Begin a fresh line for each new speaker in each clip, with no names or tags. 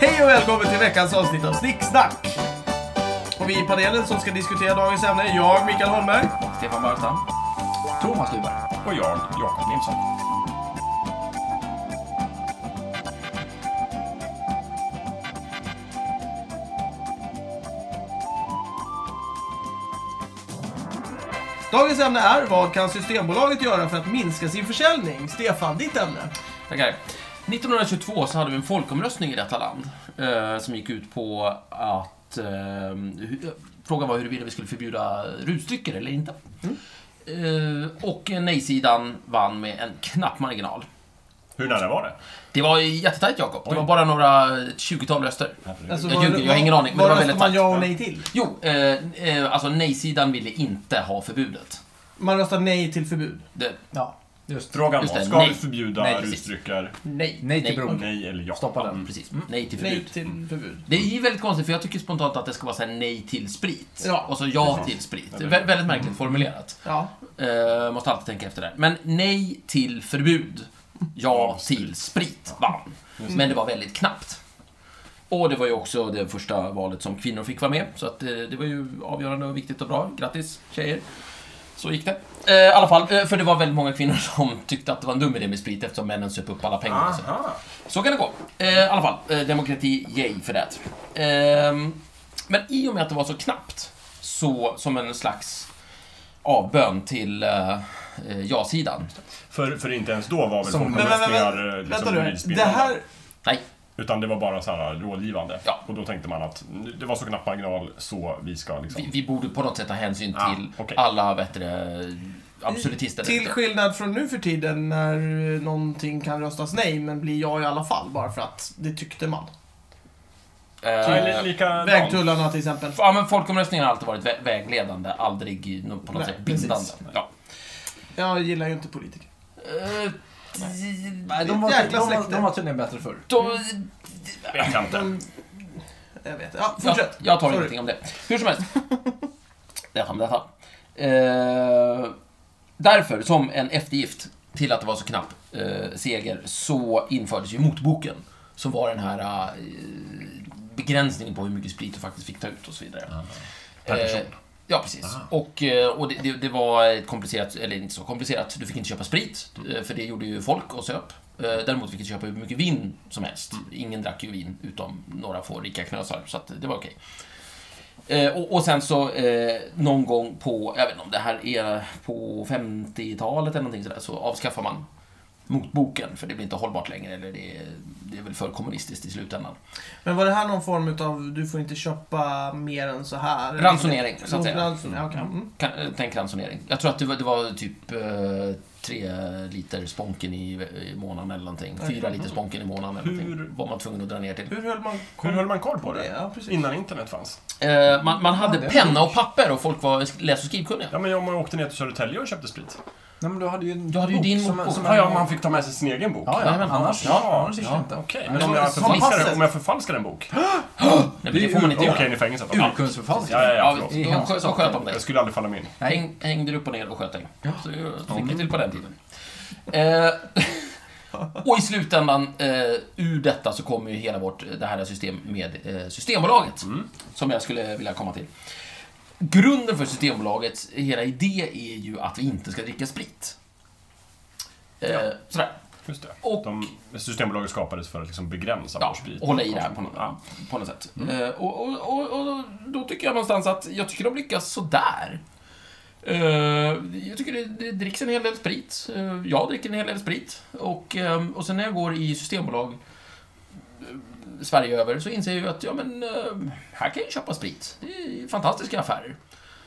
Hej och välkommen till veckans avsnitt av Snicksnack! Och vi i panelen som ska diskutera dagens ämne är jag, Mikael Holmberg.
Stefan Barstam. Thomas Lyberg.
Och jag, Jakob Nilsson.
Dagens ämne är Vad kan Systembolaget göra för att minska sin försäljning? Stefan, ditt ämne.
Tackar. 1922 så hade vi en folkomröstning i detta land eh, som gick ut på att eh, hu- frågan var huruvida vi skulle förbjuda rusdrycker eller inte. Eh, och nej-sidan vann med en knapp marginal.
Hur nära var det?
Det var jättetajt Jakob. Det var bara några 20-tal röster.
Alltså,
Jag
vad-
ljuger, jag har ingen aning, men det
Vad
var
röstar
väldigt
man
tajt.
ja och nej till?
Jo, eh, eh, alltså nej-sidan ville inte ha förbudet.
Man röstar nej till förbud.
Det,
Ja,
Frågan
Just
var,
det,
ska
nej.
vi förbjuda
Nej, precis.
rusdrycker?
nej.
Nej till bron.
Nej eller ja?
Stoppa den.
Mm.
Precis, nej till förbud.
Nej till förbud.
Det är ju väldigt konstigt, för jag tycker spontant att det ska vara så här nej till sprit.
Ja.
Och så ja till sprit. Det Mm. är vä- väldigt märkligt formulerat.
Ja.
Eh, måste alltid tänka efter där. Men nej till förbud, ja till sprit vann. Men det var väldigt knappt. Och det var ju också det första valet som kvinnor fick vara med, så att eh, det var ju avgörande och viktigt och bra. Grattis tjejer! Så gick det. Eh, I alla fall, eh, för det var väldigt många kvinnor som tyckte att det var en dum idé med sprit eftersom männen söp upp alla pengar. och så.
Aha.
Så kan det gå. Eh, I alla fall, eh, demokrati, yay för det. Ehm, men i och med att det var så knappt, så som en slags avbön till eh, eh, ja-sidan.
För, för inte ens då var väl
Som-
Men, men, men,
folkomröstningar
men,
eh,
vänta
liksom
nu. Det
juridspelande.
här...
Nej,
Utan det var bara så här rådgivande.
Ja.
Och då tänkte man att det var så knapp marginal så vi ska liksom...
vi, vi borde på något sätt ta hänsyn
Ah,
till
okej.
alla bättre absolutister. där
Till
ute.
skillnad från nu för tiden när eh, någonting kan röstas nej men blir ja i alla fall bara för att det tyckte man.
Ja,
Eh,
eller likadant.
Vägtullarna till exempel.
Ja, men folkomröstningen har alltid varit vä- vägledande, aldrig no- på något
Nej,
sätt bindande.
precis.
Ja.
Jag gillar ju inte politiker.
Eh,
Nej,
Det är
de, var,
ett
de,
jäkla
var,
släkte.
de var tydligen bättre förr.
då,
Vet jag inte.
Jag vet. Ja,
Ja,
fortsätt.
jag tar
Sorry.
ingenting om det. Hur som helst. Detta med detta. Eh, därför, som en eftergift till att det var så knapp eh, seger, så infördes ju motboken. Som var den här eh, begränsningen på hur mycket sprit du faktiskt fick ta ut och så vidare.
Per person.
Eh, Ja, precis. Och, eh, och det, det, det var ett komplicerat, eller inte så komplicerat, du fick inte köpa sprit,
Mm.
eh, för det gjorde ju folk och söp. Eh, Däremot fick du köpa hur mycket vin som helst.
Mm.
Ingen drack ju vin, utom några få rika knösar, så att det var okej. Eh, Och, och sen så eh, någon gång på, jag vet inte om det här är på 50-talet eller någonting sådär, så avskaffar man motboken, för det blir inte hållbart längre, eller det är, det är väl för kommunistiskt i slutändan.
Men var det här någon form utav du får inte köpa mer än så här?
Ransonering, så att säga.
Ransonering, ja, okej. Mm.
Kan, eh, tänk ransonering. Jag tror att det var, det var typ eh, tre liter sponken i, i månaden eller någonting. Fyra liter sponken i månaden eller
Hur-
någonting. Var man tvungen att dra ner till.
Hur höll man
Hur
koll
höll man koll på
på det?
det?
Ja, precis.
Innan internet fanns.
Eh, man, man hade
Ja, det är
penna och papper och folk var sk- läs och skrivkunniga.
Ja, men jag man åkte ner till Södertälje och köpte sprit.
Nej, men du hade ju en
Du hade ju
bok
din
som,
bok.
som
Ja, ja,
en-
man fick ta med sig sin egen bok.
Ja,
Nej,
ja,
men
annars,
ja,
annars gick det inte.
Okej, men om
som-
jag,
som
förfalskar,
passet.
om jag förfalskar en bok? Okej,
Nej, men det får man inte göra.
ni är i fängelse. då.
Urkundsförfalskning.
Ja, ja, ja,
Ja,
förlåt.
de sköt- de sköt om dig.
Jag skulle aldrig falla mig in.
Häng, hängde du upp och ner och sköt dig. Så eh, fick vi till på den tiden. Eh, och i slutändan, eh, ur detta så kommer ju hela vårt, det här system med eh, Systembolaget. Som jag skulle vilja komma till. Grunden för Systembolagets hela idé är ju att vi inte ska dricka sprit. Eh, Sådär.
Just det.
Och-
De, systembolaget skapades för att liksom begränsa
Ja,
vår sprit.
och hålla i det här på något, på något sätt. Eh, och, och, och, och då tycker jag någonstans att jag tycker de lyckas sådär. Eh, jag tycker det, det dricks en hel del sprit. Eh, jag dricker en hel del sprit. Och, ehm, och sen när jag går i systembolag eh, Sverige över så inser jag ju att ja, men, eh, här kan jag ju köpa sprit. Det är fantastiska affärer.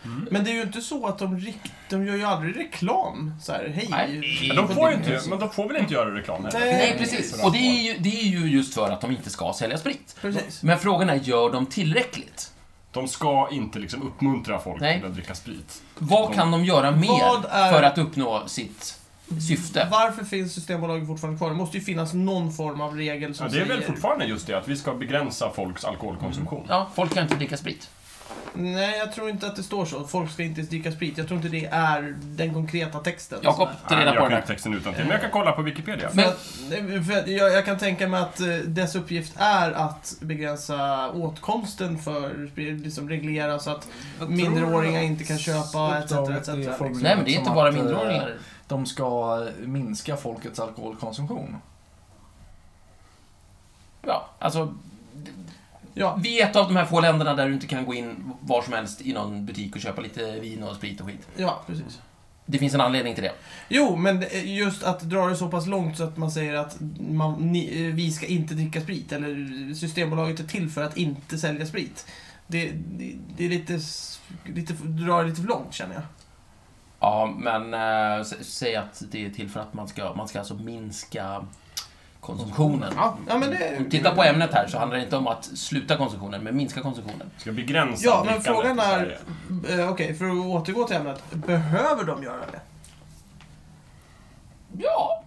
Mm.
Men det är ju inte så att de rikt... De gör ju aldrig reklam. Så här, hej.
Nej.
Men de får ju inte, men de får väl inte göra reklam heller?
Nej.
Nej, precis. Och det är, ju, det är ju just för att de inte ska sälja sprit.
Precis.
Men frågan är, gör de tillräckligt?
De ska inte liksom uppmuntra folk
Nej.
till att dricka sprit.
Vad kan de göra mer
Vad är-
för att uppnå sitt syfte?
Varför finns Systembolaget fortfarande kvar? Det måste ju finnas någon form av regel som
Ja, det är väl
säger...
Mm.
fortfarande just det att vi ska begränsa folks alkoholkonsumtion.
Ja, folk kan inte dricka sprit.
Nej, jag tror inte att det står så. Folk ska inte dricka sprit. Jag tror inte det är den konkreta texten.
Jakob, ta
Nej,
reda
jag
på
kan
det där.
inte texten utan till. Men jag kan kolla på Wikipedia.
För att, nej, för att jag, jag kan tänka mig att eh, dess uppgift är att begränsa åtkomsten för liksom reglera så att
Jag
Mindreåringar
tror
inte kan köpa, etc,
uppdraget
etc,
är
liksom.
formulerat
Nej, men det är
som
inte bara
att, eh,
mindreåringar.
De ska minska folkets alkoholkonsumtion.
Ja, alltså,
ja,
vi är ett av de här få länderna där du inte kan gå in var som helst i någon butik och köpa lite vin och sprit och skit.
ja, precis.
Det finns en anledning till det.
Jo, men det- just att dra det så pass långt så att man säger att man, ni, eh, vi ska inte dricka sprit, eller Systembolaget är till för att inte sälja sprit. Det, det, det är lite, s- lite, drar det lite för långt känner jag.
Ja, men eh, s- säg att det är till för att man ska, man ska alltså minska konsumtionen.
Ja, ja men det...
Om Titta på ämnet här så handlar det inte om att sluta konsumtionen, men minska konsumtionen.
Ska begränsa
Ja, men
drickandet
frågan
i
är-
Sverige.
Eh, Okej, för att återgå till ämnet. Behöver de göra det?
Ja,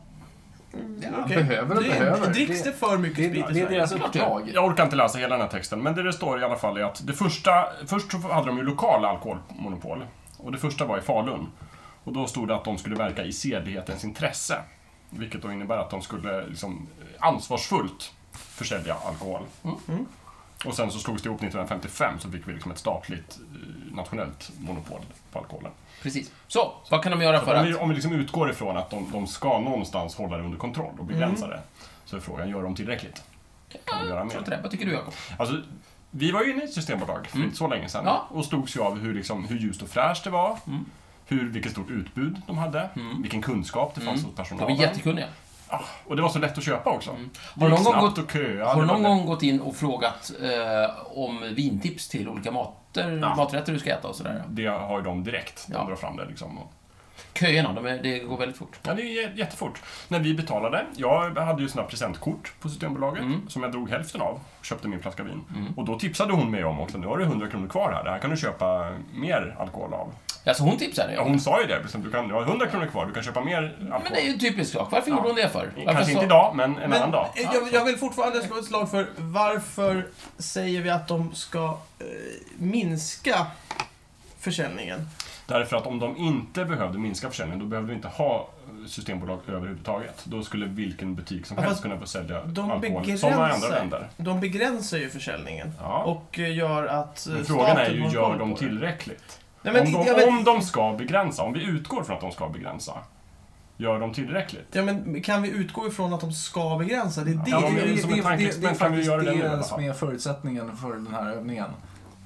Ja,
Okej.
Behöver och
det,
behöver.
Dricks det för mycket
det,
sprit
det,
i Sverige?
det är deras
Klart det.
uppdrag.
Jag orkar inte läsa hela den här texten, men det det står i alla fall är att det första, först så hade de ju lokala alkoholmonopol. Och det första var i Falun. Och då stod det att de skulle verka i sedlighetens intresse. Vilket då innebär att de skulle liksom ansvarsfullt försälja alkohol.
Mm.
Och sen så slogs det ihop 1955 så fick vi liksom ett statligt eh, nationellt monopol på alkoholen.
precis. Så, vad kan de göra för
Om vi,
att...
om vi liksom utgår ifrån att de, de ska någonstans hålla det under kontroll och begränsa
Mm.
det. Så är frågan, gör de tillräckligt? Kan de göra
Jag tror
mer?
inte det. Vad tycker du, Jakob?
Alltså, vi var ju inne i ett systembolag för inte så länge sedan
Mm. Ja. Mm.
och slogs ju av hur, liksom, hur ljust och fräscht det var, hur, vilket stort utbud de hade, vilken kunskap det fanns hos
Mm. De är
personalen.
jättekunniga.
Ah, och det var så lätt att köpa också.
Mm. Har du någon gång
snabbt
gått-
och köa.
Har du
det var
någon
lätt-
gång gått in och frågat eh, om vintips till olika mater,
Ja.
maträtter du ska äta och sådär?
Det har ju de direkt, de
Ja.
drar fram det liksom. och-
Köerna, de är, det går väldigt fort.
Ja, det är jä- jättefort. När vi betalade, jag hade ju såna här presentkort på Systembolaget
Mm.
som jag drog hälften av och köpte min flaska vin. Och då tipsade hon mig om också, nu har du 100 kronor kvar här, det här kan du köpa mer alkohol av.
Alltså hon tipsade?
Ja, hon sa ju det, liksom, du, kan, du har 100 kronor kvar, du kan köpa mer alkohol.
Men det är ju en typisk sak. Varför gjorde hon det för? Varför
Kanske
sa-
inte idag, men en annan
Men
dag.
eh, jag, jag vill fortfarande slå ett slag för varför säger vi att de ska eh, minska försäljningen?
Därför att om de inte behövde minska försäljningen, då behövde vi inte ha systembolag överhuvudtaget. Då skulle vilken butik som
Ja,
helst
fast
kunna få sälja
de
alkohol, som i andra
begränsar.
länder.
De begränsar ju försäljningen
Ja.
och eh, gör att eh,
Men frågan är
staten
ju,
har
gör
koll
de
på det.
tillräckligt?
Nej, men,
om, de,
ja, men,
om de ska begränsa, om vi utgår från att de ska begränsa, gör de tillräckligt?
ja, men kan vi utgå ifrån att de ska begränsa? Det är det,
Ja, men
det,
det är ju som ett tankeexperiment kan vi
faktiskt
göra det nu i alla
det som
fall.
är förutsättningen för den här övningen.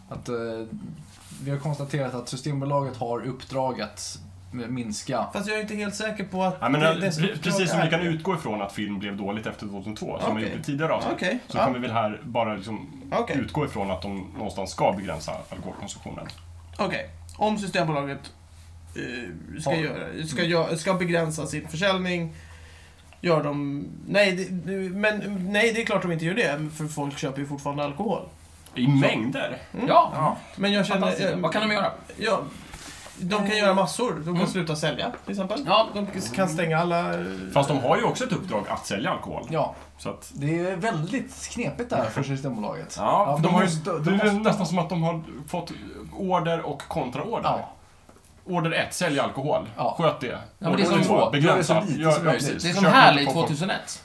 Att, eh, vi har konstaterat att Systembolaget har uppdraget att minska
Fast jag är inte helt säker på att...
Ja, men, eh,
det- det som
pre- precis som vi
är-
kan utgå ifrån att film blev dåligt efter 2002, som vi
Okej.
gjorde i tidigare avsnitt,
Okej,
så
ja.
kan vi väl här bara liksom
Okej.
utgå ifrån att de någonstans ska begränsa alkoholkonsumtionen.
Okej, om Systembolaget eh, ska,
Har-
göra, ska, gö- ska begränsa sin försäljning, gör de... Nej, det, det- men, nej, det är klart de inte gör det, för folk köper ju fortfarande alkohol.
I mängder!
Ja,
Men jag känner...
fantastiskt.
eh,
Vad kan de göra?
Ja, de kan göra massor. De kan sluta sälja, till exempel.
Ja.
De kan stänga alla... eh,
Fast de har ju också ett uppdrag att sälja alkohol.
Ja,
Så att,
det är väldigt knepigt det här för Systembolaget.
ja, de, har ju,
måste- de
det är
måste-
nästan som att de har fått order och kontraorder.
Ja,
Order 1, sälj alkohol.
Ja.
Sköt det.
men det är
order
som-
2, begränsa.
gör det så lite
Gör-
som
ja,
möjligt.
precis.
Det är som
Försök
här i
inte få folk-
2001.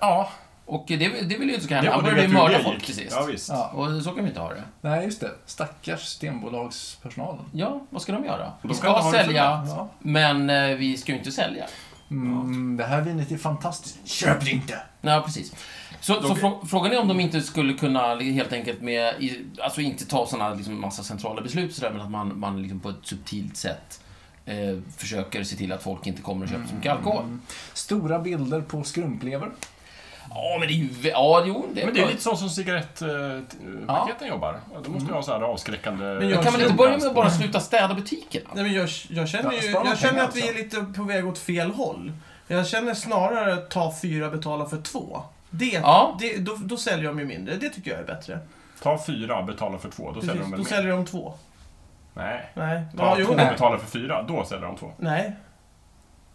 Ja,
Och det, det vill ju inte så
det,
hända.
och
Han
det
började
vet
ju
du hur
mörda
det
folk
gick.
till sist.
Ja, visst.
ja.
Och så kan vi inte ha det.
Nej, just det. Stackars Systembolagspersonalen.
Ja, vad ska de göra? Vi
De
ska
kan inte ha det
sälja,
Ja.
men eh, vi ska ju inte sälja.
Mm, det här vinet är fantastiskt. Köp det inte!
Ja, precis. Så, så frå- frågan är om de inte skulle kunna li- helt enkelt med, i- alltså inte ta sådana liksom massa centrala beslut sådär, men att man, man liksom på ett subtilt sätt eh, försöker se till att folk inte kommer och köper så mycket alkohol.
Mm.
Stora bilder på skrumplever.
Ja, men det är ju, vä- ja, jo, det är
Men det är
bra.
lite så som eh, cigarettpaketen jobbar. De måste ju ha så här avskräckande...
Men jag-
Kan man inte börja med att bara sluta städa butikerna?
Nej, men jag, jag känner,
Ja,
ju,
spara
jag känner
pengar
att vi är
också.
lite på väg åt fel håll. Jag känner snarare ta fyra, betala för två. Det,
Ja.
det, då, då säljer de ju mindre. Det tycker jag är bättre.
Ta fyra, betala för två, då säljer
Precis,
de väl
då
mer?
säljer de två.
Nej.
Nej.
Ta
Ja, jo,
två,
nej.
betala för fyra, då säljer de två.
nej.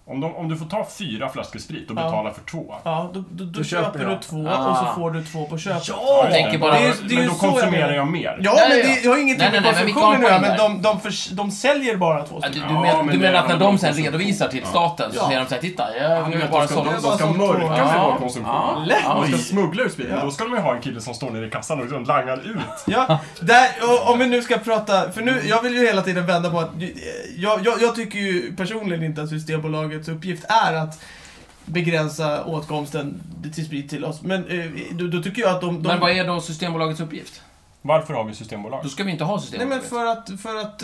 Om, de, om du får ta fyra flaskor sprit och
Ja.
betala för två.
Ja, då, då, då,
Då köper
köper,
jag.
du två
Ah.
och så får du två på köpet. Ja,
Ja, just det.
tänker bara-
Men-
Det är- det är
men
ju
då
så jag
konsumerar
menar.
jag, mer.
Nej,
men
ja.
det, jag har ingenting
Nej, nej,
med
nej, men vi kan
konsumtionen att göra,
poäng
men de,
där.
de, förs- de säljer bara två
Ja, du,
stycken.
du,
Ja,
men,
men
du
det
menar
är
att när
ändå
de sen
konsumtion.
redovisar till
Ja.
staten så
Ja.
säger de såhär, titta, jag
Du
nu
vet,
bara
de ska,
sålt.
de,
bara
ska
sålt
mörka
två.
sin
Ja.
konsumtion.
Ja.
De ska
Oj.
smuggla ut spriten.
Ja.
Då ska de ju ha en kille som står nere i kassan och liksom langar ut.
Ja, där, och, om vi nu ska prata, för nu, jag vill ju hela tiden vända på att, jag, jag, jag tycker ju personligen inte att Systembolagets uppgift är att begränsa åtkomsten till sprit till oss. Men eh, då, då tycker jag att de... de
Men vad är då Systembolagets uppgift?
Varför har vi Systembolag?
Då ska vi inte ha
Nej men
Systembolaget.
för att, för att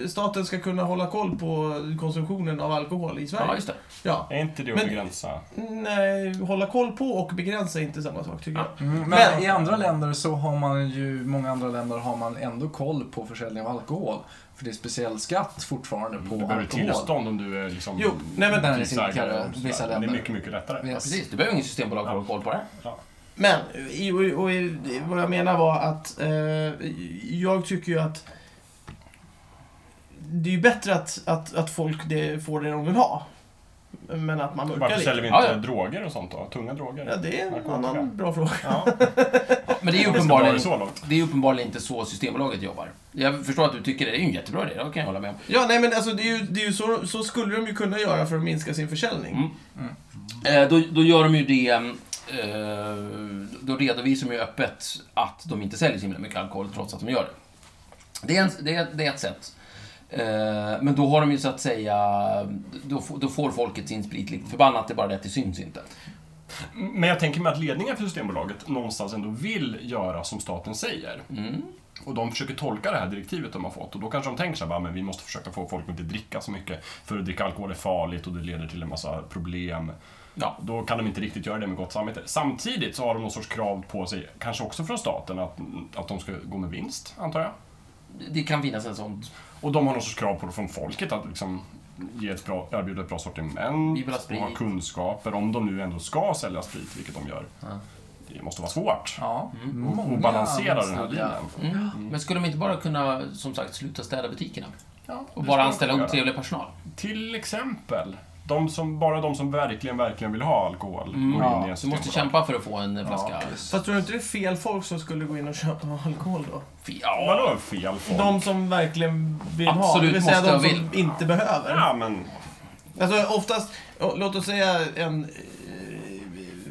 eh, staten ska kunna hålla koll på konsumtionen av alkohol i Sverige.
Ja,
Ja,
just det.
Är inte det att
Men-
begränsa?
Nej, hålla koll på och begränsa är inte samma sak tycker jag.
Mm, men,
Men-
i andra länder så har man ju, många andra länder har man ändå koll på försäljning av alkohol. För det är speciell skatt fortfarande på
Du Mm, behöver
alkohol.
tillstånd om du är liksom
Jo, nej men,
Nej.
butiksägare. och
Vissa
sådär.
länder.
Det är mycket, mycket lättare.
Ja,
Yes.
precis. Du behöver ingen Systembolag för att ha koll på det.
Ja.
men i- och, och, i- vad jag menar var att eh, jag tycker ju att det är ju bättre att, att, att folk det, får det de vill ha. Men att man mörkar
Varför säljer
lite.
vi inte
Ja, ja.
droger och sånt då? Tunga droger?
Ja, det är en
Narkotika.
annan bra fråga.
Ja.
Ja, Men det är ju
Vi ska dra det
uppenbarligen,
så långt.
det är uppenbarligen inte så Systembolaget jobbar. Jag förstår att du tycker det. Det är ju en jättebra idé, det kan jag hålla med om.
Ja, nej men alltså det är ju, det är ju så, så skulle de ju kunna göra för att minska sin försäljning.
Mm.
Mm.
Eh, Då, då gör de ju det... eh, Då redovisar de ju öppet att de inte säljer så himla mycket alkohol trots att de gör det. Det är, en, det är, det är ett sätt. Eh, Men då har de ju så att säga... Då, får- då får folket sin sprit likt förbannat, det är bara det att det syns inte.
Men jag tänker mig att ledningen för Systembolaget någonstans ändå vill göra som staten säger.
Mm.
Och de försöker tolka det här direktivet de har fått och då kanske de tänker så här, "Va, men vi måste försöka få folk att inte dricka så mycket för att dricka alkohol är farligt och det leder till en massa problem.
Ja.
Då kan de inte riktigt göra det med gott samvete. Samtidigt så har de någon sorts krav på sig, kanske också från staten, att, att de ska gå med vinst, antar jag.
Det kan finnas en sån...
Och de har någon sorts krav på från folket att liksom ge ett bra, erbjuda ett bra sortiment,
Vi vill ha sprit.
och ha kunskaper, om de nu ändå ska sälja sprit, vilket de gör.
Ja.
Det måste vara svårt.
Ja,
Och, och
många
balansera Mm. den här
snabba-
linjen.
Mm. Men skulle de inte bara kunna, som sagt, sluta städa butikerna?
Ja,
Och
det
bara
ska
anställa
de göra.
otrevlig personal?
Till exempel. De som, bara de som verkligen, verkligen vill ha alkohol går in i
Ja,
en
Du Mm. måste
systembolag.
kämpa för att få en flaska...
Fast tror du inte det är fel folk som skulle gå in och köpa alkohol då?
Fy- Ja,
Vadå fel folk?
De som verkligen vill ha,
Absolut
det vill säga
måste
de
och
som
vill.
inte behöver.
Ja, men...
Alltså oftast, å- låt oss säga en... eh,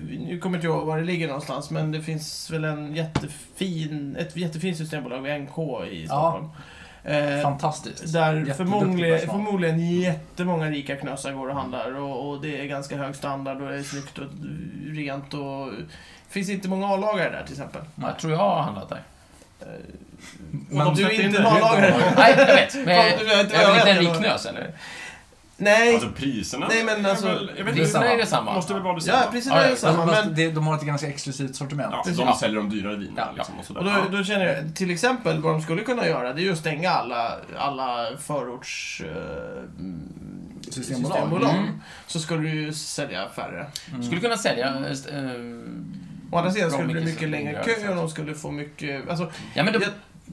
Nu kommer inte jag ihåg var det ligger någonstans, men det finns väl en jättefin, ett jättefint systembolag vid NK i Stockholm. Eh,
Fantastiskt.
där
Jätteduktig
förmodligen,
personal.
förmodligen jättemånga rika knösar går och handlar och, och det är ganska hög standard och det är snyggt och rent och... Det finns inte många A-lagare där till exempel.
jag tror jag har handlat där.
Men
de
du
släppte
är inte
in
en
det.
A-lagare.
Nej, jag vet. Men
Fan, du vet,
jag,
jag
är väl inte en
vet,
rik
jag-
knös, eller?
Nej,
Alltså priserna?
Nej, men
är
alltså-
väl- jag vet
Det är
inte,
samma.
är det samma.
måste väl vara detsamma?
ja precis
Ja,
det
ja.
är samma.
Fast
Men,
det- de har ett ganska exklusivt sortiment.
Ja, de
Ja.
säljer de dyra vinerna
Ja,
liksom och sådär.
och då, då känner jag, till exempel, vad de skulle kunna göra det är ju att stänga alla, alla förorts... eh, mm,
Systembolag.
Mm.
Så skulle du ju sälja färre.
Mm.
Skulle kunna sälja... eh, st- eh,
Å andra sidan
bra
skulle det bli mycket
som-
längre kö och de skulle få mycket... Alltså,
Ja, men de,
Ja,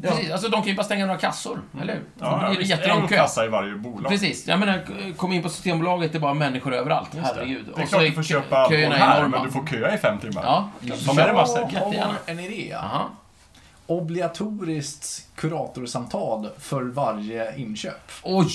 ja.
Precis, alltså, de kan ju bara stänga några kassor, eller hur?
Mm. Ja,
det
ja,
blir det
visst.
jättelång
en
kö.
kassa i varje bolag.
Precis. Jag menar, k- kom in på Systembolaget, det är bara människor överallt.
Just det.
Herregud.
Det är klart du får köpa alkohol här, men du får köa i fem timmar.
Ja.
Ta med dig massa.
Jag har
Jättegärna.
en idé.
Aha.
Obligatoriskt kuratorsamtal för varje inköp.
Oj!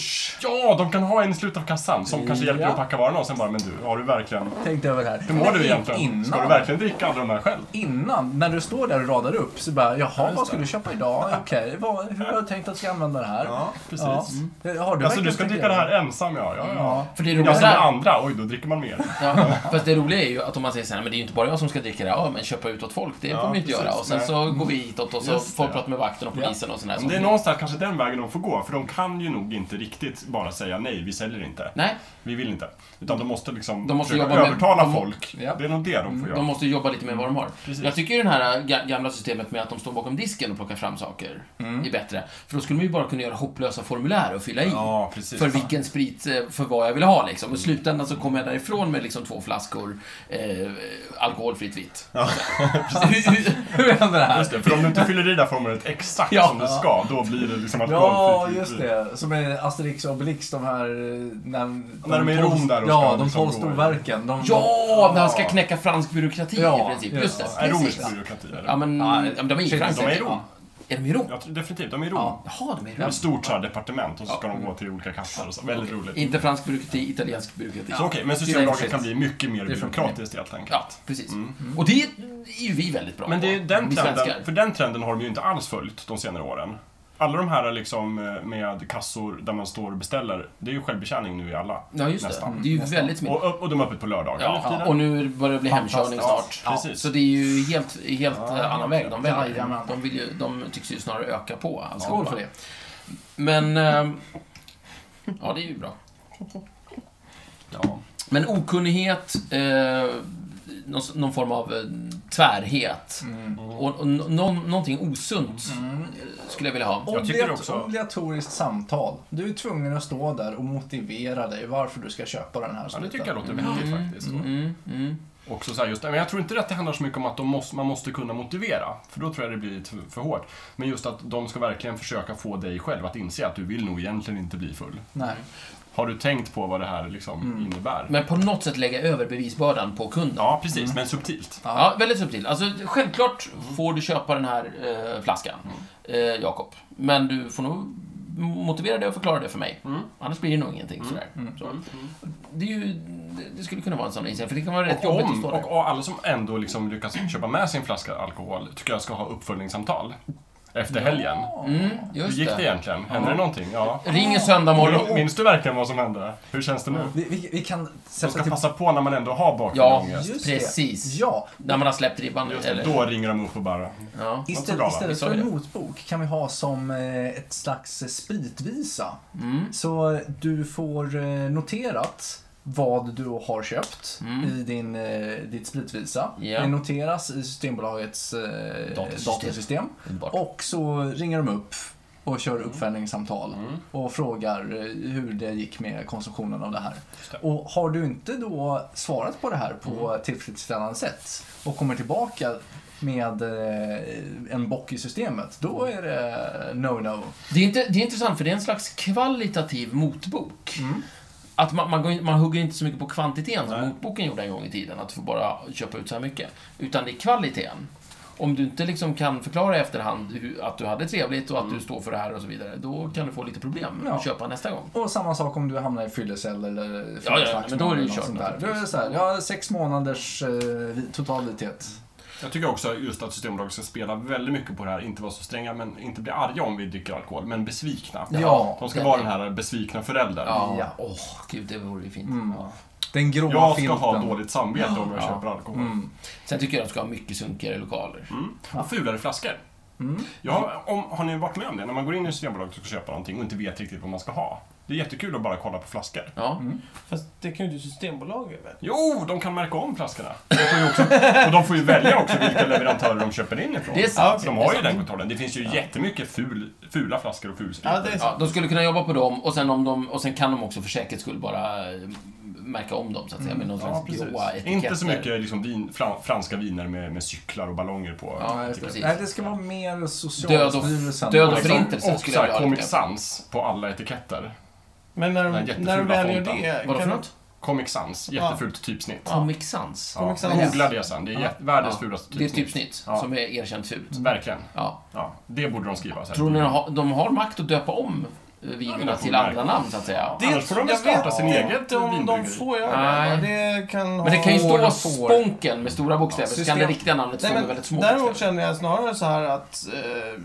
Ja, de kan ha en i slutet av kassan som kanske hjälper
Ja.
att packa varorna och sen bara, men du, har du verkligen...
Tänkte över här.
Hur mår
Men
du egentligen?
Innan,
Ska du verkligen dricka alla de här själv?
innan, när du står där och radar upp så bara, jaha, vad ska du köpa idag? Okej, vad, hur har du tänkt att du ska använda det här?
precis.
Ja. Mm. Har du
Alltså du
verkligen
ska
tänkt
dricka det Mm. här
igenom?
ensam, ja. ja, ja.
För det
Jag
roliga
som är
där...
andra, oj då dricker man mer.
Ja, fast det roliga är ju att om man säger så här, men det är ju inte bara jag som ska dricka det här, ja men köpa ut åt folk, det
Ja,
får vi inte
precis.
göra. Och sen
Nej.
så går vi hitåt och så
Just det,
folk
ja.
pratar med vakten och polisen och sådär.
Men det är någonstans kanske den vägen de får gå, för de kan ju nog inte riktigt bara säga nej, vi säljer inte.
Nej,
Vi vill inte. Utan de måste liksom
De måste
försöka
jobba med-
övertala
de- Mm.
folk.
Ja.
Det är nog det de får göra.
de måste ju jobba lite med vad de har.
Precis.
Jag tycker ju det här äh, ga- gamla systemet med att de står bakom disken och plockar fram saker
Mm.
är bättre. För då skulle man ju bara kunna göra hopplösa formulär och fylla i.
Ja, precis.
För vilken sprit, eh, för vad jag vill ha liksom. Och i slutändan så kommer jag därifrån med liksom två flaskor eh, alkoholfritt vitt.
Hur händer det här?
Just det, för om du inte fyller i det här formuläret exakt
Ja.
som det ska, då blir det liksom
Ja,
alkoholfritt vin.
just det. Som är Asterix och Obelix, de här... eh, När,
När de är i
tolv-
Rom där och
Ja,
ska
de
liksom
tolv
gå-
storverken. De,
Ja, när han ska
Ja.
knäcka fransk byråkrati
Ja,
i princip.
ja.
Just det.
Är
precis.
romersk byråkrati eller?
Ja, men ja,
Mm.
men de är i
Shit,
Frankrike.
de är i Rom.
Är de i Rom?
Ja, definitivt, de är i Rom.
Ja.
Jaha, de är i
Det är
Rom.
ett stort så här departement och så ska de gå till olika kassar och så. Väldigt
Okej.
roligt.
Inte fransk byråkrati, italiensk byråkrati.
Så okej, men Systembolaget
Shit.
kan bli mycket mer
Det funkar.
byråkratiskt helt enkelt. Mm.
Ja, precis. Och det är ju vi väldigt bra
Men det är
på,
den
vi svenskar.
trenden, för den trenden har de ju inte alls följt de senare åren. Alla de här liksom eh, med kassor där man står och beställer, det är ju självbetjäning nu i alla.
Ja, just det.
nästan.
Det är ju
Nästan.
väldigt smidigt.
Och, och de är öppet på lördagar. nu
Ja,
för tiden.
och nu börjar det bli hemkörning snart.
Fantastiskt. Ja,
Ja,
precis.
så det är ju helt, helt
Ja,
eh, annan väg de väljer.
Jajamän.
De, vill ju, de tycks ju snarare öka på alkohol
Skål för det.
Men... ehm, ja, det är ju bra.
Ja.
Men okunnighet, eh, någon, någon form av eh, tvärhet
Mm.
och, och nå- någon, någonting osunt
Mm.
eh, skulle jag vilja ha.
Jag tycker
Obligat-
också-
Obligatoriskt samtal. Du är tvungen att stå där och motivera dig varför du ska köpa den här
ja, det
spriten.
tycker jag låter vettigt faktiskt.
Mm, mm.
Också så här just, men jag tror inte att det handlar så mycket om att de måste, man måste kunna motivera, för då tror jag det blir lite för hårt. Men just att de ska verkligen försöka få dig själv att inse att du vill nog egentligen inte bli full.
Nej.
Har du tänkt på vad det här liksom
Mm.
innebär?
Men på något sätt lägga över bevisbördan på kunden.
ja, precis, men subtilt.
Ja, väldigt subtil. Alltså, självklart får du köpa den här eh, flaskan,
Mm.
eh, Jakob. Men du får nog motivera det och förklara det för mig.
Mm.
Annars blir det nog ingenting sådär.
Mm.
Så. Det, är ju, det- det skulle kunna vara en sån inställning, för det kan vara rätt
Och,
jobbigt att
om,
stå där.
och och alla som ändå liksom lyckas köpa med sin flaska alkohol tycker jag ska ha uppföljningssamtal efter helgen.
Mm,
Hur
just
gick det
det.
egentligen? Hände det någonting? Ja.
Ring en söndag morgon.
Minns du verkligen vad som hände? Hur känns det nu?
Vi, vi, vi kan
Man
sätta
ska
till...
passa på när man ändå har bakgrund
Ja,
och ångest.
Just
Precis.
Det. Ja.
När man har släppt ribban.
Just
eller,
det, då ringer de upp och bara...
ja.
Vad så bra,
Istället,
va?
istället
Vi sa
för
ju
en
det.
motbok kan vi ha som eh, ett slags eh, spritvisa.
Mm.
Så du får eh, noterat vad du har köpt
Mm.
i din, eh, ditt spritvisa.
Ja.
Det noteras i Systembolagets eh,
Datasystem.
datasystem.
Underbart.
Och så ringer de upp och kör uppföljningssamtal
Mm.
och frågar eh, hur det gick med konsumtionen av det här.
det.
Och har du inte då svarat på det här
Mm.
på tillfredsställande sätt och kommer tillbaka med eh, en bock i systemet, då
Mm.
är det no-no.
Det, är inte, det är intressant, för det är en slags kvalitativ motbok.
Mm.
Att man, man, går, in- man hugger inte så mycket på kvantiteten som
Nej.
motboken gjorde en gång i tiden, att du får bara köpa ut så här mycket. Utan det är kvaliteten. Om du inte liksom kan förklara i efterhand hur, att du hade trevligt och att du står för det här och så vidare, då kan du få lite problem
Ja.
att köpa nästa gång.
Och samma sak om du hamnar i fyllecell eller
ja, ja, men då är det ju
eller något
kört
sånt där. Då
naturligtvis.
är det så här, ja, sex månaders eh, vi- total vithet.
Jag tycker också just att Systembolaget ska spela väldigt mycket på det här, inte vara så stränga, men inte bli arga om vi dricker alkohol, men besvikna.
Ja.
De ska vara den här besvikna föräldern.
Ja. Åh,
Ja.
gud, det vore ju fint.
Mm.
Ja.
Den gråa
Jag ska
filten.
ha dåligt samvete om jag
Ja.
köper alkohol.
Mm.
Sen tycker jag de ska ha mycket sunkigare lokaler.
Mm. Och fulare flaskor.
Mm.
Ja, om, har ni varit med om det? När man går in i Systembolaget och ska köpa någonting och inte vet riktigt vad man ska ha. Det är jättekul att bara kolla på flaskor.
Ja.
Mm.
Fast det kan ju inte Systembolaget väl?
Jo, de kan märka om flaskorna. De får ju också, och de får ju välja också vilka leverantörer de köper in ifrån.
Det är sant.
Så de har ju den kontrollen. Det finns ju jättemycket ful, fula flaskor och fulsprit.
Ja, det är
Ja,
sant.
de skulle kunna jobba på dem och sen, om de, och sen kan de också för säkerhets skull bara eh, märka om dem så att säga med någon
Mm. Ja,
slags
precis.
gråa etiketter.
Inte så mycket liksom vin, fran, franska viner med, med cyklar och ballonger på.
Ja,
Nej,
precis.
Nej, det ska vara mer
Död och-
Socialstyrelsen.
död och förintelse.
och liksom,
Förintelsen
och
skulle
så
jag vilja
här
ha
Comic
lite.
Sans på alla etiketter.
Men när de,
Den jättefula
när de väl gör
fonten.
det...
alltså. Vadå för
kan-
något?
Comic Sans, jättefult typsnitt.
Comic Sans.
Ja.
Comic Sans.
Googla det sen, det är jätte- världens
Ja.
fulaste
Det är ett
typsnitt.
typsnitt
Ja. Mm.
som är erkänt fult.
Verkligen.
Ja.
Ja, det borde de skriva. Så här.
Tror ni de har, de har makt att döpa om eh,
Ja, men
vinerna
de får
till andra
märka.
namn, så att säga?
Det-
Annars får de väl
jag
starta
vet
sin eget
inte om de
vinbryggeri.
får göra det. Det kan
Men det kan ju
Får
stå
och får.
Sponken med stora bokstäver, så kan det
system-
riktiga namnet stå
Nej,
med
men
väldigt små
däremot
bokstäver.
känner jag snarare så här att eh,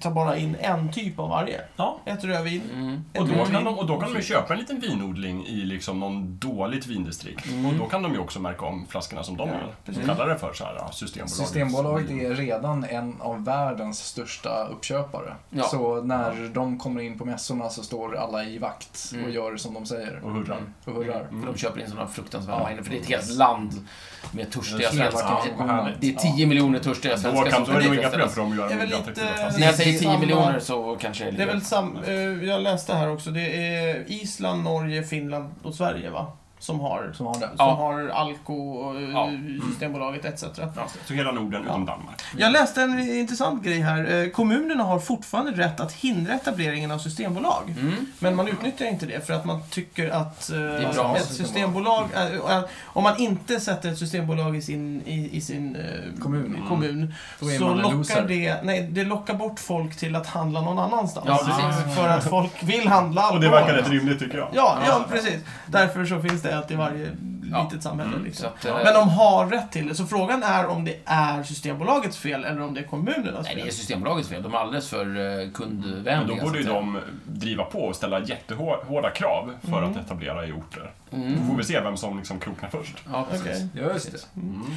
ta bara in en typ av varje.
Ja.
Ett rödvin.
Mm.
ett
Och då,
vitt
kan
vin.
de, och då kan de ju köpa en liten vinodling i liksom någon dåligt vindistrikt.
Mm.
Och då kan de ju också märka om flaskorna som de gör. De
precis.
kallar det för så här, ja, Systembolaget.
Systembolaget är redan en av världens största uppköpare.
Ja.
Så när de kommer in på mässorna så står alla i vakt och
Mm.
gör som de säger
Och hurrar.
Mm.
och hurrar.
För de köper in sådana fruktansvärda viner, för det är ett helt land med törstiga
Det är
svenskar.
snälla,
Det-
vad härligt.
Det är 10 miljoner törstiga
Då
svenskar
kan
som
då är det nog inga
ska
problem
dricka
för dem att göra
Det är väl
väldigt
lite-
attraktiva flaskor.
När jag säger 10
Samma-
miljoner så kanske det är
Det är
lite...
väl sam, eh, jag läste här också, det är Island, Norge, Finland och Sverige va? som har, som
som har det.
Ja.
har Alko, eh,
Ja. Mm.
Systembolaget etc.
Ja, så hela Norden utom Danmark.
Jag läste en intressant grej här. Eh, Kommunerna har fortfarande rätt att hindra etableringen av systembolag.
Mm.
Men man utnyttjar inte det för att man tycker att eh,
är bra att ha
ett systembolag... eh, eh, om man inte sätter ett systembolag i sin, i, i sin eh,
Kommun.
kommun
Då är
så
man en
lockar
loser.
det, nej, det lockar bort folk till att handla någon annanstans.
Ja, precis.
För att folk vill handla
Och det
alkohol.
verkar rätt rimligt tycker jag.
Ja, ja, precis. Därför så finns det alltid i varje
Ja.
litet samhälle.
Så
Liksom.
att, eh,
Men de har rätt till det. Så frågan är om det är Systembolagets fel eller om det är kommunernas
Nej, det är
fel.
Systembolagets fel. De är alldeles för eh, kundvänliga.
Men då
så att
borde ju
säga.
de driva på och ställa jättehårda krav för att etablera i orter. Då
Mm.
får vi se vem som liksom kroknar först.
Ja, precis.
Okej.
Ja, just det.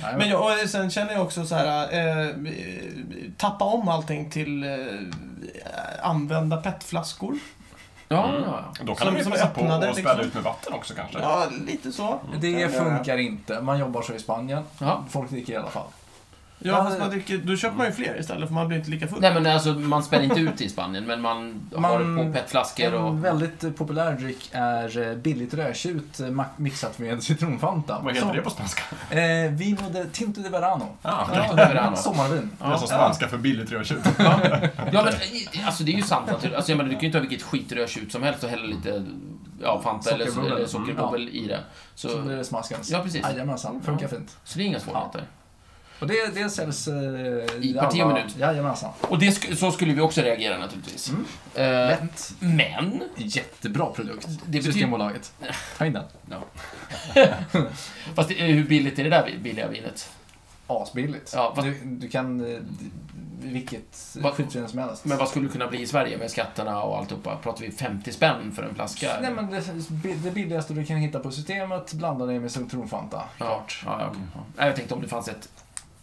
Nej,
Men jag, och sen känner jag också så här, eh, tappa om allting till eh, använda petflaskor.
Ja, ja, ja.
Då kan
Som-
de ju
som
passa på
öppnade,
och späda
liksom.
ut med vatten också kanske.
Ja, lite så.
Det funkar inte. Man jobbar så i Spanien.
ja.
Folk dricker i alla fall.
Ja, fast man dricker, då köper man ju fler istället för man blir inte lika full.
Nej, men alltså, man spär inte ut i Spanien, men man, har
Man-
det på petflaskor och...
En väldigt eh, populär dryck är eh, billigt rödtjut eh, ma- mixat med citronfanta.
Vad heter
Som-
det på spanska?
Eh, vino de Tinto de Verano.
Ah,
Ja, det är det annat.
Sommarvin.
det är som spanska för billigt rödtjut.
Ja, men i- alltså det är ju sant naturligtvis. Alltså, jag menar, du kan ju inte ha vilket skitrörs ut som helst och hälla lite ja, Fanta eller,
Sockerbubbel.
eller sockerbubbel i det. Så,
Så blir det smaskens.
Ja, precis.
Jajamensan, funkar fint.
så det är inga svårigheter.
Och det, det säljs... Eh, I
parti och minut.
Jajamensan.
Och det sk- så skulle vi också reagera naturligtvis. Eh,
Lätt.
men,
Jättebra produkt.
betyder-
Systembolaget. Ta in den.
fast det, hur billigt är det där vi- billiga vinet?
Asbilligt.
Ja, vad-
du, du kan... eh, d- Vilket
Vad-
skitvin som helst.
Men vad skulle det kunna bli i Sverige med skatterna och alltihopa? Pratar vi 50 spänn för en flaska?
Nej, men det, det billigaste du kan hitta på systemet blandar det med citronfanta.
Ja, ja, ja, okej. ja. Nej, Jag tänkte om det fanns ett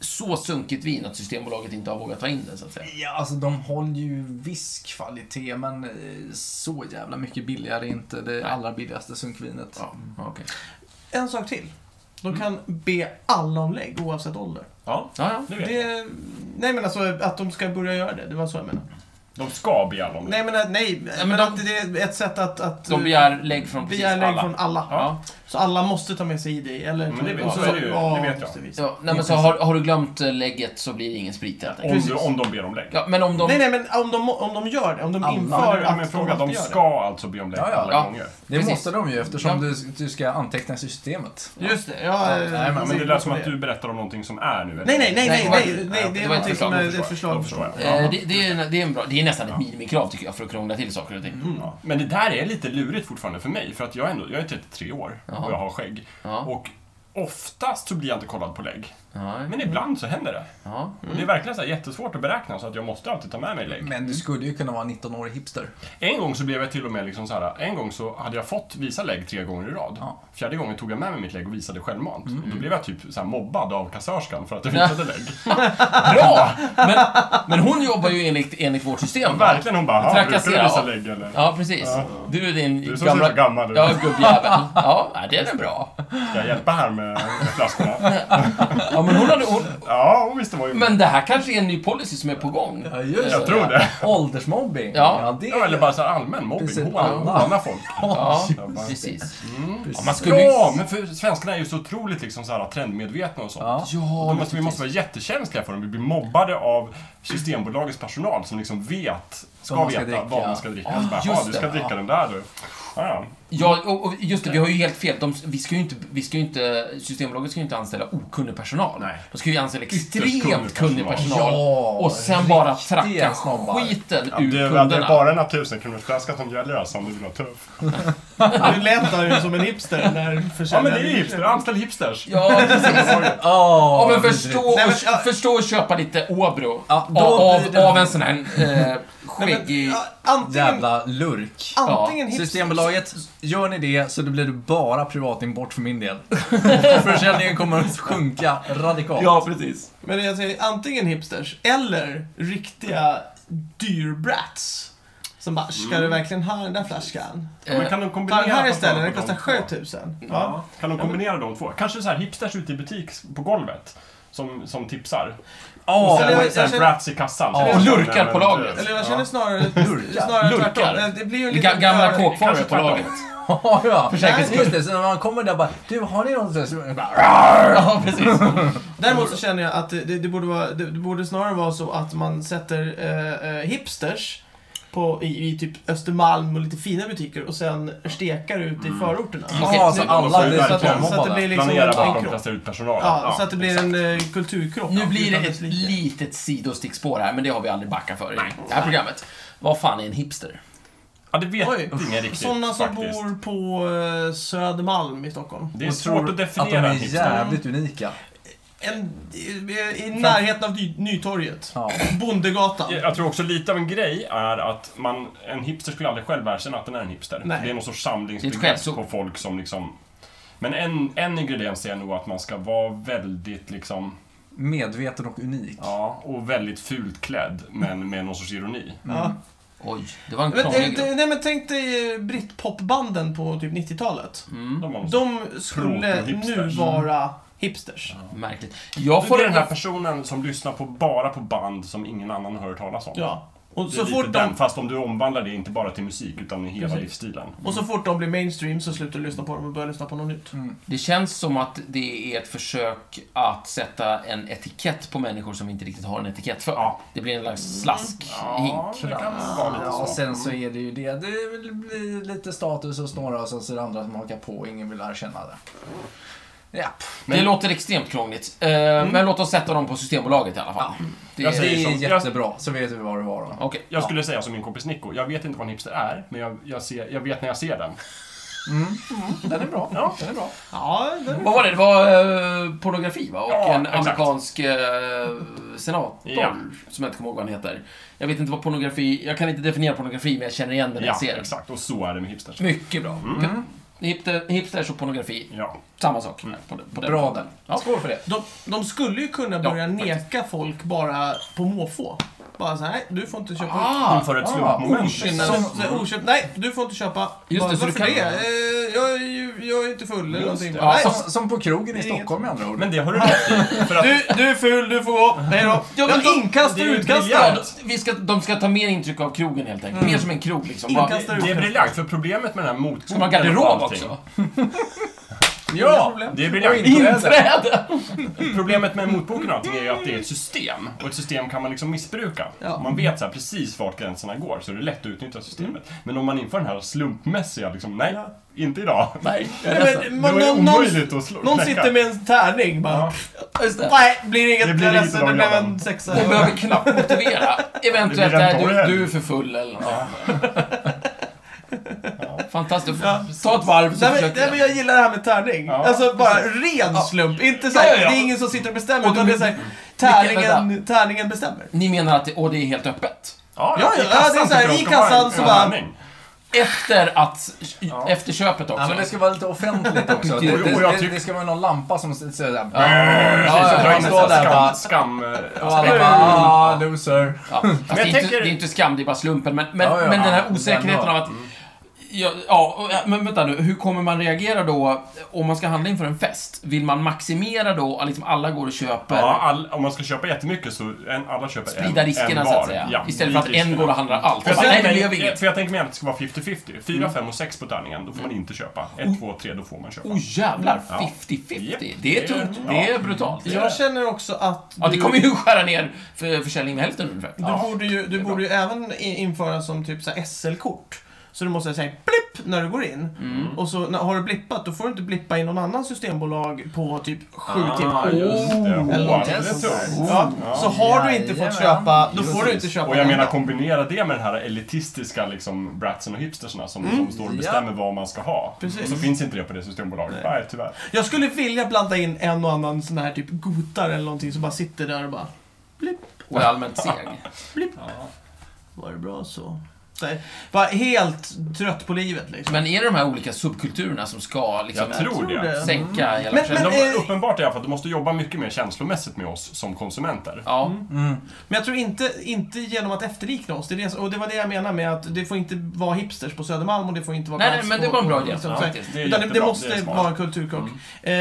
så sunkigt vin att Systembolaget inte har vågat ta in det, så att säga.
Ja, alltså de håller ju viss kvalitet, men eh, så jävla mycket billigare är inte det allra billigaste sunkvinet.
Ja, okej.
En sak till. De kan be alla om lägg oavsett ålder.
Ja,
Ja, ja.
det vet jag.
Det, nej men alltså att de ska börja göra det, det var så jag menade.
De ska be alla om det.
Nej men, att- nej, men,
men de-
att det är ett sätt att... att
De begär lägg från precis
begär lägg
alla.
från alla.
Ja.
Så alla måste ta med sig ID. Eller,
Men det-
och
så är det ju. Det vet jag.
måste visa.
Ja, nej, men så har, har du glömt eh, lägget så blir det ingen sprit helt enkelt.
Om,
precis.
du, om de ber om lägg.
Ja, men om de...
Nej, nej, men om de, om de gör det, om de
Alla.
inför
Ja,
att
men fråga, de
gör det.
ska alltså be om lägg
Ja, ja,
alla
ja.
gånger.
Det
Precis.
måste de ju eftersom
Ja.
du, du ska anteckna systemet.
Just det, ja. eh,
nej,
Men det
precis,
lät som
så
att du berättar om någonting som är nu. eller?
Nej, nej, nej, nej,
Nej,
nej,
nej,
nej,
det
det
var
är någonting
ett
som
förslag,
är
då
ett
Då
förslag.
förstår jag.
Eh, det, det, är, det, är en bra, det är nästan ett minimikrav tycker jag för att krångla till saker och ting.
Ja. Men det där är lite lurigt fortfarande för mig, för att jag är, ändå, jag är 33 år
Jaha.
och jag har skägg.
Ja.
Och oftast så blir jag inte kollad på lägg.
Ja.
Men ibland så händer det.
Ja.
Och det är verkligen så här jättesvårt att beräkna, så att jag måste alltid ta med mig lägg.
Mm.
Men du skulle ju kunna vara en 19-årig hipster.
En gång så blev jag till och med liksom så här, en gång så hade jag fått visa lägg tre gånger i rad.
Ja.
Fjärde gången tog jag med mig mitt lägg och visade självmant.
Mm.
Och då blev jag typ så här mobbad av kassörskan för att jag visade lägg.
Bra! Men, men hon jobbar ju enligt, enligt vårt system. va?
Verkligen, hon bara, "Ha, brukar du
Trakassera,
visa
ja.
lägg eller?
Ja, precis. Du är din
Du som ser
gamla...
så gammal ut.
Ja, gubbjävel. Ja, nej, det är den bra.
Ska jag hjälpa här med flaskorna?
Ja, men hon hade... Hon,
Ja, hon visste vad jag gjorde.
men det här kanske är en ny policy som är på gång.
just
Jag tror det.
Åldersmobbing.
Ja.
det
Ja, eller bara så här allmän
Precis,
mobbing.
alla.
Håna håna folk.
Ja,
Jag bara-
precis.
precis.
Ja, man skulle ju...
Ja, men för svenskarna är ju så otroligt liksom så här, trendmedvetna och sånt.
Ja.
Ja,
Då måste, vi måste vara jättekänsliga för dem. Vi blir mobbade av Systembolagets personal som liksom vet, ska
Vad man ska
veta
dricka.
vad man ska dricka.
Ja,
Så bara,
just
"Ja, du
det.
ska dricka den där du. Ja, ja.
Ja, och, och just det, vi har ju helt fel. De, vi ska ju inte, vi ska ju inte, Systembolaget ska ju inte anställa okunnig personal.
Nej.
De ska ju anställa
kunnig
extremt kunnig
personal.
personal.
Ja,
och sen bara
riktiga
tracka
snobbar.
skiten
Ja,
ur
det, är väl-
kunderna.
det är bara den här tusenkronorsflaskan som gäller alltså, om du vill vara tuff.
Du lät där ju som en hipster när
Ja,
försäljaren...
men det är ju hipster. Anställ hipsters.
Ja, precis.
Ja,
Ja, men förstå, och,
Nej, men, ja.
förstå att köpa lite Åbro
Ja, då
av,
blir
av,
det-
av en sån här eh, skäggig...
Ja, Antingen,
Jävla lurk.
antingen hipster...
Systembolaget, gör ni det så då blir det bara privatimport för min del. Försäljningen kommer att sjunka radikalt.
precis.
Men jag säger antingen hipsters eller riktiga dyrbrats. Som bara, ska du verkligen ha den där flaskan?
Men kan de kombinera
Ta den här
att man
istället,
har
den kostar
de två?
7000. Ja.
Ja. Kan de kombinera de två? Kanske så här hipsters ute i butik på golvet. Som, som tipsar.
Ja,
Och sen,
eller-
sen
jag känner-
brats i kassan.
Ja.
Så-
Och lurkar
Nej, men-
på lagret.
Eller jag känner snarare, snarare
Lurkar.
tvärtom. Det blir ju en
Ga-
liten
Gamla
rörelse.
kåkfarare
kanske
på
tvärtom.
laget.
Ja, ja.
För säkerhets
Just det, så när man kommer där bara, du har ni något så jag bara,
Ja, precis.
Däremot så känner jag att det, det, borde vara, det, det borde snarare vara så att man sätter eh, eh, hipsters på, i, i typ Östermalm och lite fina butiker och sen stekar ut i förorterna.
Okej,
ah, så
nu-
alla blir
så, att, så
verkligen.
att det
reklammobbade.
blir liksom
Planera
en, en
bakom,
kropp.
kasta ut personalen.
Ja,
Ja,
så att det blir en eh, kulturkrock.
Nu blir det
utan
ett
dess like.
litet sidostick spår här, men det har vi aldrig backat för i det här programmet. Vad fan är en hipster?
Ja, det vet
Oj.
ingen riktigt
Sådana som
faktiskt.
bor på eh, Södermalm i Stockholm.
Det är
och
svårt
tror
att definiera
att
en
de är
hipster.
jävligt unika.
En, i, I närheten av ny, Nytorget.
Ja.
Bondegatan.
Jag tror också lite av en grej är att man, en hipster skulle aldrig själv erkänna att den är en hipster.
Nej.
Det är någon sorts
Det är ett
samlingsbegrepp
skällsord.
på folk som liksom... Men en, en ingrediens är nog att man ska vara väldigt liksom...
Medveten och unik.
Ja, och väldigt fult klädd, men med någon sorts ironi.
Ja.
Oj, det var en
Men,
krånglig
eh,
grupp.
nej, men tänk dig eh, brittpopbanden på typ 90-talet.
Mm.
De har någon sorts-
De skulle nu
Proto-hipsters. Mm.
vara hipsters.
Märkligt. Jag
Du
får
är den här
den
personen som lyssnar på bara på band som ingen annan hör talas om.
Ja. Och
Det är
så,
lite
fort
den,
de,
fast om du omvandlar det inte bara till musik, utan i hela
Precis.
livsstilen.
och så fort de blir mainstream så slutar du lyssna på dem och börjar lyssna på något nytt.
Det känns som att det är ett försök att sätta en etikett på människor som vi inte riktigt har en etikett för.
Ja.
Det blir en slags slaskhink.
Ja, det kan vara lite
Ja, och
så.
sen så är det ju det. Det blir lite status hos några och sen så är det andra som hakar på och ingen vill erkänna det. Ja.
Det låter extremt krångligt. Eh, Men låt oss sätta dem på Systembolaget i alla fall. Mm. Det
Jag
Det
säger-
är...
är
så.
jättebra, så vet vi vad det var då.
Okej.
Jag skulle säga som min kompis Nico, jag vet inte vad en hipster är, men jag, jag, ser, jag vet när jag ser den.
Den är bra.
Ja.
Den är bra.
Ja, det,
Vad var det? Det var eh, pornografi va? Och
Ja,
en
exakt.
amerikansk eh, senator,
Ja.
som jag inte kommer ihåg vad han heter. Jag vet inte vad pornografi... Jag kan inte definiera pornografi, men jag känner igen den när
Ja,
jag ser den.
exakt. Och så är det med hipsters.
Mycket bra. Hipster, hipsters och pornografi,
Ja.
samma sak. På, på den
Bra
punkten.
den.
Ja.
Skål för det.
de, de skulle ju kunna
Ja,
börja neka folk bara på måfå. Bara så här, nej, du får inte köpa...
Ah,
Inför ett
ah,
slumpmoment.
okynne.
Som, så, här, oköpt, nej, du får inte köpa.
Just
Bara,
det, så du
Varför
kan-
det? Eh, jag, är ju, jag är inte full eller
Just
någonting.
det.
Bara,
Ja,
nej,
Som, som på krogen i Stockholm med andra ord.
Men det har du rätt i. För att
Du, du är ful, du får gå. Hej då. Ja,
men
men inkast
det
och
är ju
utkast
briljant.
då.
de- vi ska, de ska ta mer intryck av krogen helt enkelt. Mer som en krog liksom. Bara,
Inkastar
det är
ut.
briljant, för problemet med den här motboken
som en garderob
och allting-
också.
Inga
ja!
problem.
Det är briljant.
Inträde!
Inträde!
Problemet med motboken och allting är ju att det är ett system. Och ett system kan man liksom missbruka.
Ja.
Man vet så här precis vart gränserna går, så det är lätt att utnyttja systemet. Men om man inför den här slumpmässiga, liksom, nej, inte idag.
Nej,
Nej, men,
Då är
man,
det
någon, någon,
omöjligt att slå,
någon
knäcka.
sitter med en tärning bara.
Ja.
just det.
Nej, blir inget.
Det blir
jag är
inget
ledsen,
idag,
det blev
grabben.
en sexa.
Hon behöver knappt motivera. Eventuellt
Det blir en
är
torr
du,
helg.
du är för full eller något. Fantastiskt.
Ja.
Ta ett varv så
Nej, men,
försöker
nej, men jag gillar det här med tärning.
Ja.
Alltså bara ren slump. Inte så här,
Ja, ja, ja.
det är ingen som sitter och bestämmer,
Och
utan
du-
det är så här,
Vilken-
tärningen, tärningen bestämmer.
Ni menar att det, och det är helt öppet?
Ja,
Ja, ja,
i
ja, det är så här,
tycker de
i
ska vara
kassan
en-
så
en
bara-
hörning.
Efter att... Efter köpet också?
Ja, men det ska vara lite offentligt också. Det,
Jo, jag
det, det,
tycker-
det ska vara någon lampa som säger sådär.
Ja,
Precis,
ja,
så
ja,
dra in
man
en
står
sån
där
skam-
bara-
skam, eh,
Och alla
aspekt.
bara ah, loser.
Ja, fast det, är
jag
inte,
tänker-
det är inte skam, det är bara slumpen. Men, men,
Ja, ja,
men den här
ja,
osäkerheten
den
av
var-
att... Ja, ja, och- ja, men vänta nu. Hur kommer man reagera då om man ska handla inför en fest? Vill man maximera då att liksom alla går och köper?
Ja, all, om man ska köpa jättemycket så en, alla köper
Sprida
en,
riskerna
en var.
så att säga.
Ja,
Istället för att
sprid
en
riskerna.
går och handlar allt.
För jag,
Bara, Nej, det
tänker
blev
mig-
inget. Mm.
för jag tänker mig att det ska vara 50-50. 4, 5 och 6 på tärningen, då får man inte köpa. 1, 2, 3, då får man köpa.
Oh jävlar,
Ja.
50-50.
Japp.
Det är tungt.
Ja.
Det är brutalt.
Jag känner också att
Ja, det
du-
kommer ju skära ner för försäljningen med hälften ungefär.
Du borde ju, du borde ju även i- införa som typ så här SL-kort. Så du måste säga blipp när du går in.
Mm.
Och så när, har du blippat, då får du inte blippa i någon annan systembolag på typ sju timmar.
Ah, just det.
Mm.
Oh,
Eller något
det är
sånt.
tungt.
Ja, så har du inte
Jajamän.
fått köpa, då får du
Precis.
inte köpa
Och jag
den
menar
där.
kombinera det med den här elitistiska liksom, bratsen och hipstersna som,
Mm.
som står och
Ja.
bestämmer vad man ska ha.
Precis.
Och så finns inte det på det systembolaget. Nej, tyvärr.
Jag skulle vilja blanda in en och annan sån här typ gotar eller någonting som bara sitter där och bara blipp,
Och är allmänt seg.
blipp. Var det bra så? så här, bara helt trött på livet liksom.
Men är det de här olika subkulturerna som ska liksom
Jag tror
tror
det. Mm.
det.
sänka hela
Men-
försäljningen?
Men de,
eh,
uppenbart är att du måste jobba mycket mer känslomässigt med oss som konsumenter.
Ja.
mm.
Men jag tror inte, inte genom att efterlikna oss. Det är det, och det var det jag menar med att det får inte vara hipsters på Södermalm och det får inte vara
Nej,
crowds
nej, men det var en
på-
bra
på-
idé.
liksom,
Ja,
så här.
faktiskt.
Det är
Utan det, det
jättebra,
måste
det är smart. Mm.
vara en kulturkrock. Eh,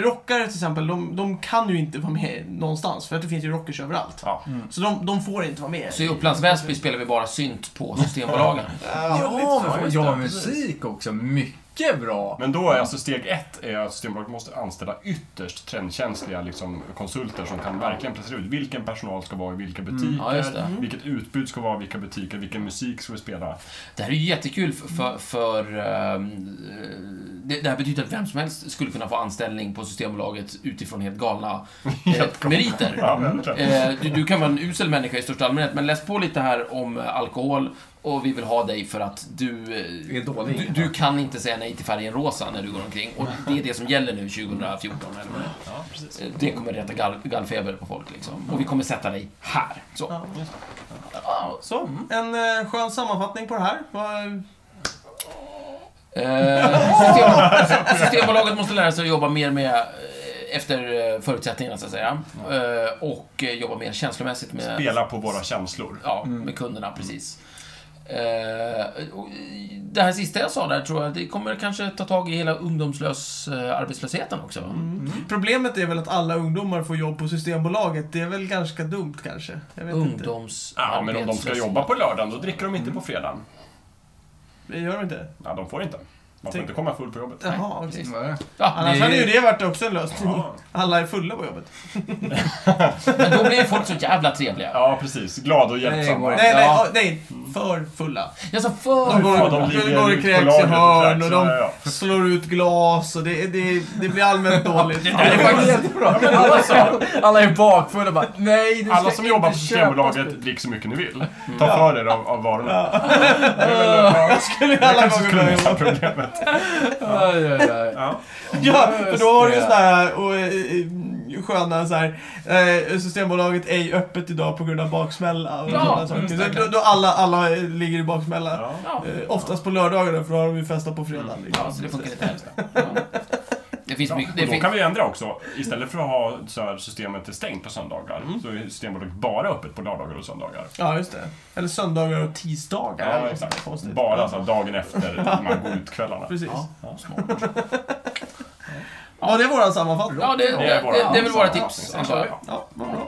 rockare till exempel, de, de kan ju inte vara med någonstans för att det finns ju rockers överallt.
Ja.
Så de, de får inte vara med.
Så i Upplands Väsby spelar vi bara synt på Systembolagen.
Ja,
lite så,
men
just
jag
det,
har musik också. Mycket bra.
Men då är alltså steg ett är att Systembolaget måste anställa ytterst trendkänsliga liksom, konsulter som kan verkligen placera ut vilken personal ska vara i vilka
Mm.
butiker,
Ja, just det. Mm.
vilket utbud ska vara i vilka butiker, vilken musik ska vi spela.
Det här är ju jättekul för, för, för ehm, det, det här betyder att vem som helst skulle kunna få anställning på Systembolaget utifrån helt galna eh, meriter.
Ja, verkligen.
Eh, du, du kan vara en usel människa i största allmänhet, men läs på lite här om eh, alkohol och vi vill ha dig för att du... eh,
Är dålig.
Du, du kan inte säga nej till färgen rosa när du går omkring. Och det är det som gäller nu 2014 eller vad det är.
Ja, precis.
Eh, Det kommer reta gall, gallfeber på folk liksom. Och vi kommer sätta dig här. Så.
Ja. Så, en eh, skön sammanfattning på det här. Vad-
Eh, system, systembolaget måste lära sig att jobba mer med eh, efter eh, förutsättningarna så att säga. Eh, och eh, jobba mer känslomässigt med...
Spela på våra känslor.
Ja,
Mm.
med kunderna, precis. Eh, och Det här sista jag sa där tror jag, det kommer kanske ta tag i hela ungdomslös eh, arbetslösheten också.
Mm, Problemet är väl att alla ungdomar får jobb på Systembolaget. Det är väl ganska dumt kanske. Jag vet inte.
Ungdoms...
Ja, men om de ska jobba på lördagen, då dricker de inte
Mm.
på fredagen.
Det Eh, Gör de inte?
Ja, de får inte. Man får
Tänk-
inte komma full på jobbet.
Jaha, okej.
precis.
Vad är det?
Ja,
Annars hade ju
det,
det varit också en lösning.
Ja.
Alla är fulla på jobbet.
men då blir folk så jävla trevliga.
Ja, precis. Glada och
Nej, det går
hjälpsamma.
inte.
Nej, nej,
Ja.
ja, nej. För fulla.
Jag sa
De
för...
går,
Ja, de
de
ligger
går
ut
och
på
kräks i
lagret och
hörn
kräks,
och
ja,
de slår ut glas och det, det, det blir allmänt dåligt.
där är faktiskt-
Alla, alla är bakfulla och bara nej, du ska
Alla som
inte
jobbar på
köpa
Systembolaget,
sprit."
drick så mycket ni vill.
Mm.
Ta för er av, av varorna.
skulle
Det
alla gånger
kanske skulle
börja
lösa problemet.
Aj, aj, aj.
Ja.
Ja, för då har du ju
Just det.
sådana här och, eh, sköna så här. Eh, systembolaget är ju öppet idag på grund av baksmälla och
Ja,
sådana saker.
just
Så
det.
då, då alla, alla eh, ligger i baksmälla.
Ja.
Ja.
Eh, oftast på lördagar för då har de ju festat på fredag. Liksom.
Ja, så det funkar inte heller. Ja. Det finns mycket... Det
Och då
finns,
kan vi ändra också. Istället för att ha så här systemet är stängt på söndagar,
Mm.
så är Systembolaget bara öppet på lördagar och söndagar.
Ja, just det. Eller söndagar och tisdagar. eller
Ja,
något
exakt.
konstigt.
Bara så här, dagen efter man går ut-kvällarna.
Precis. Ja.
ja, smart.
det är våran sammanfattning.
ja, det, det, det, det är väl våra tips.
Ja,
antar jag.
Ja, vad bra.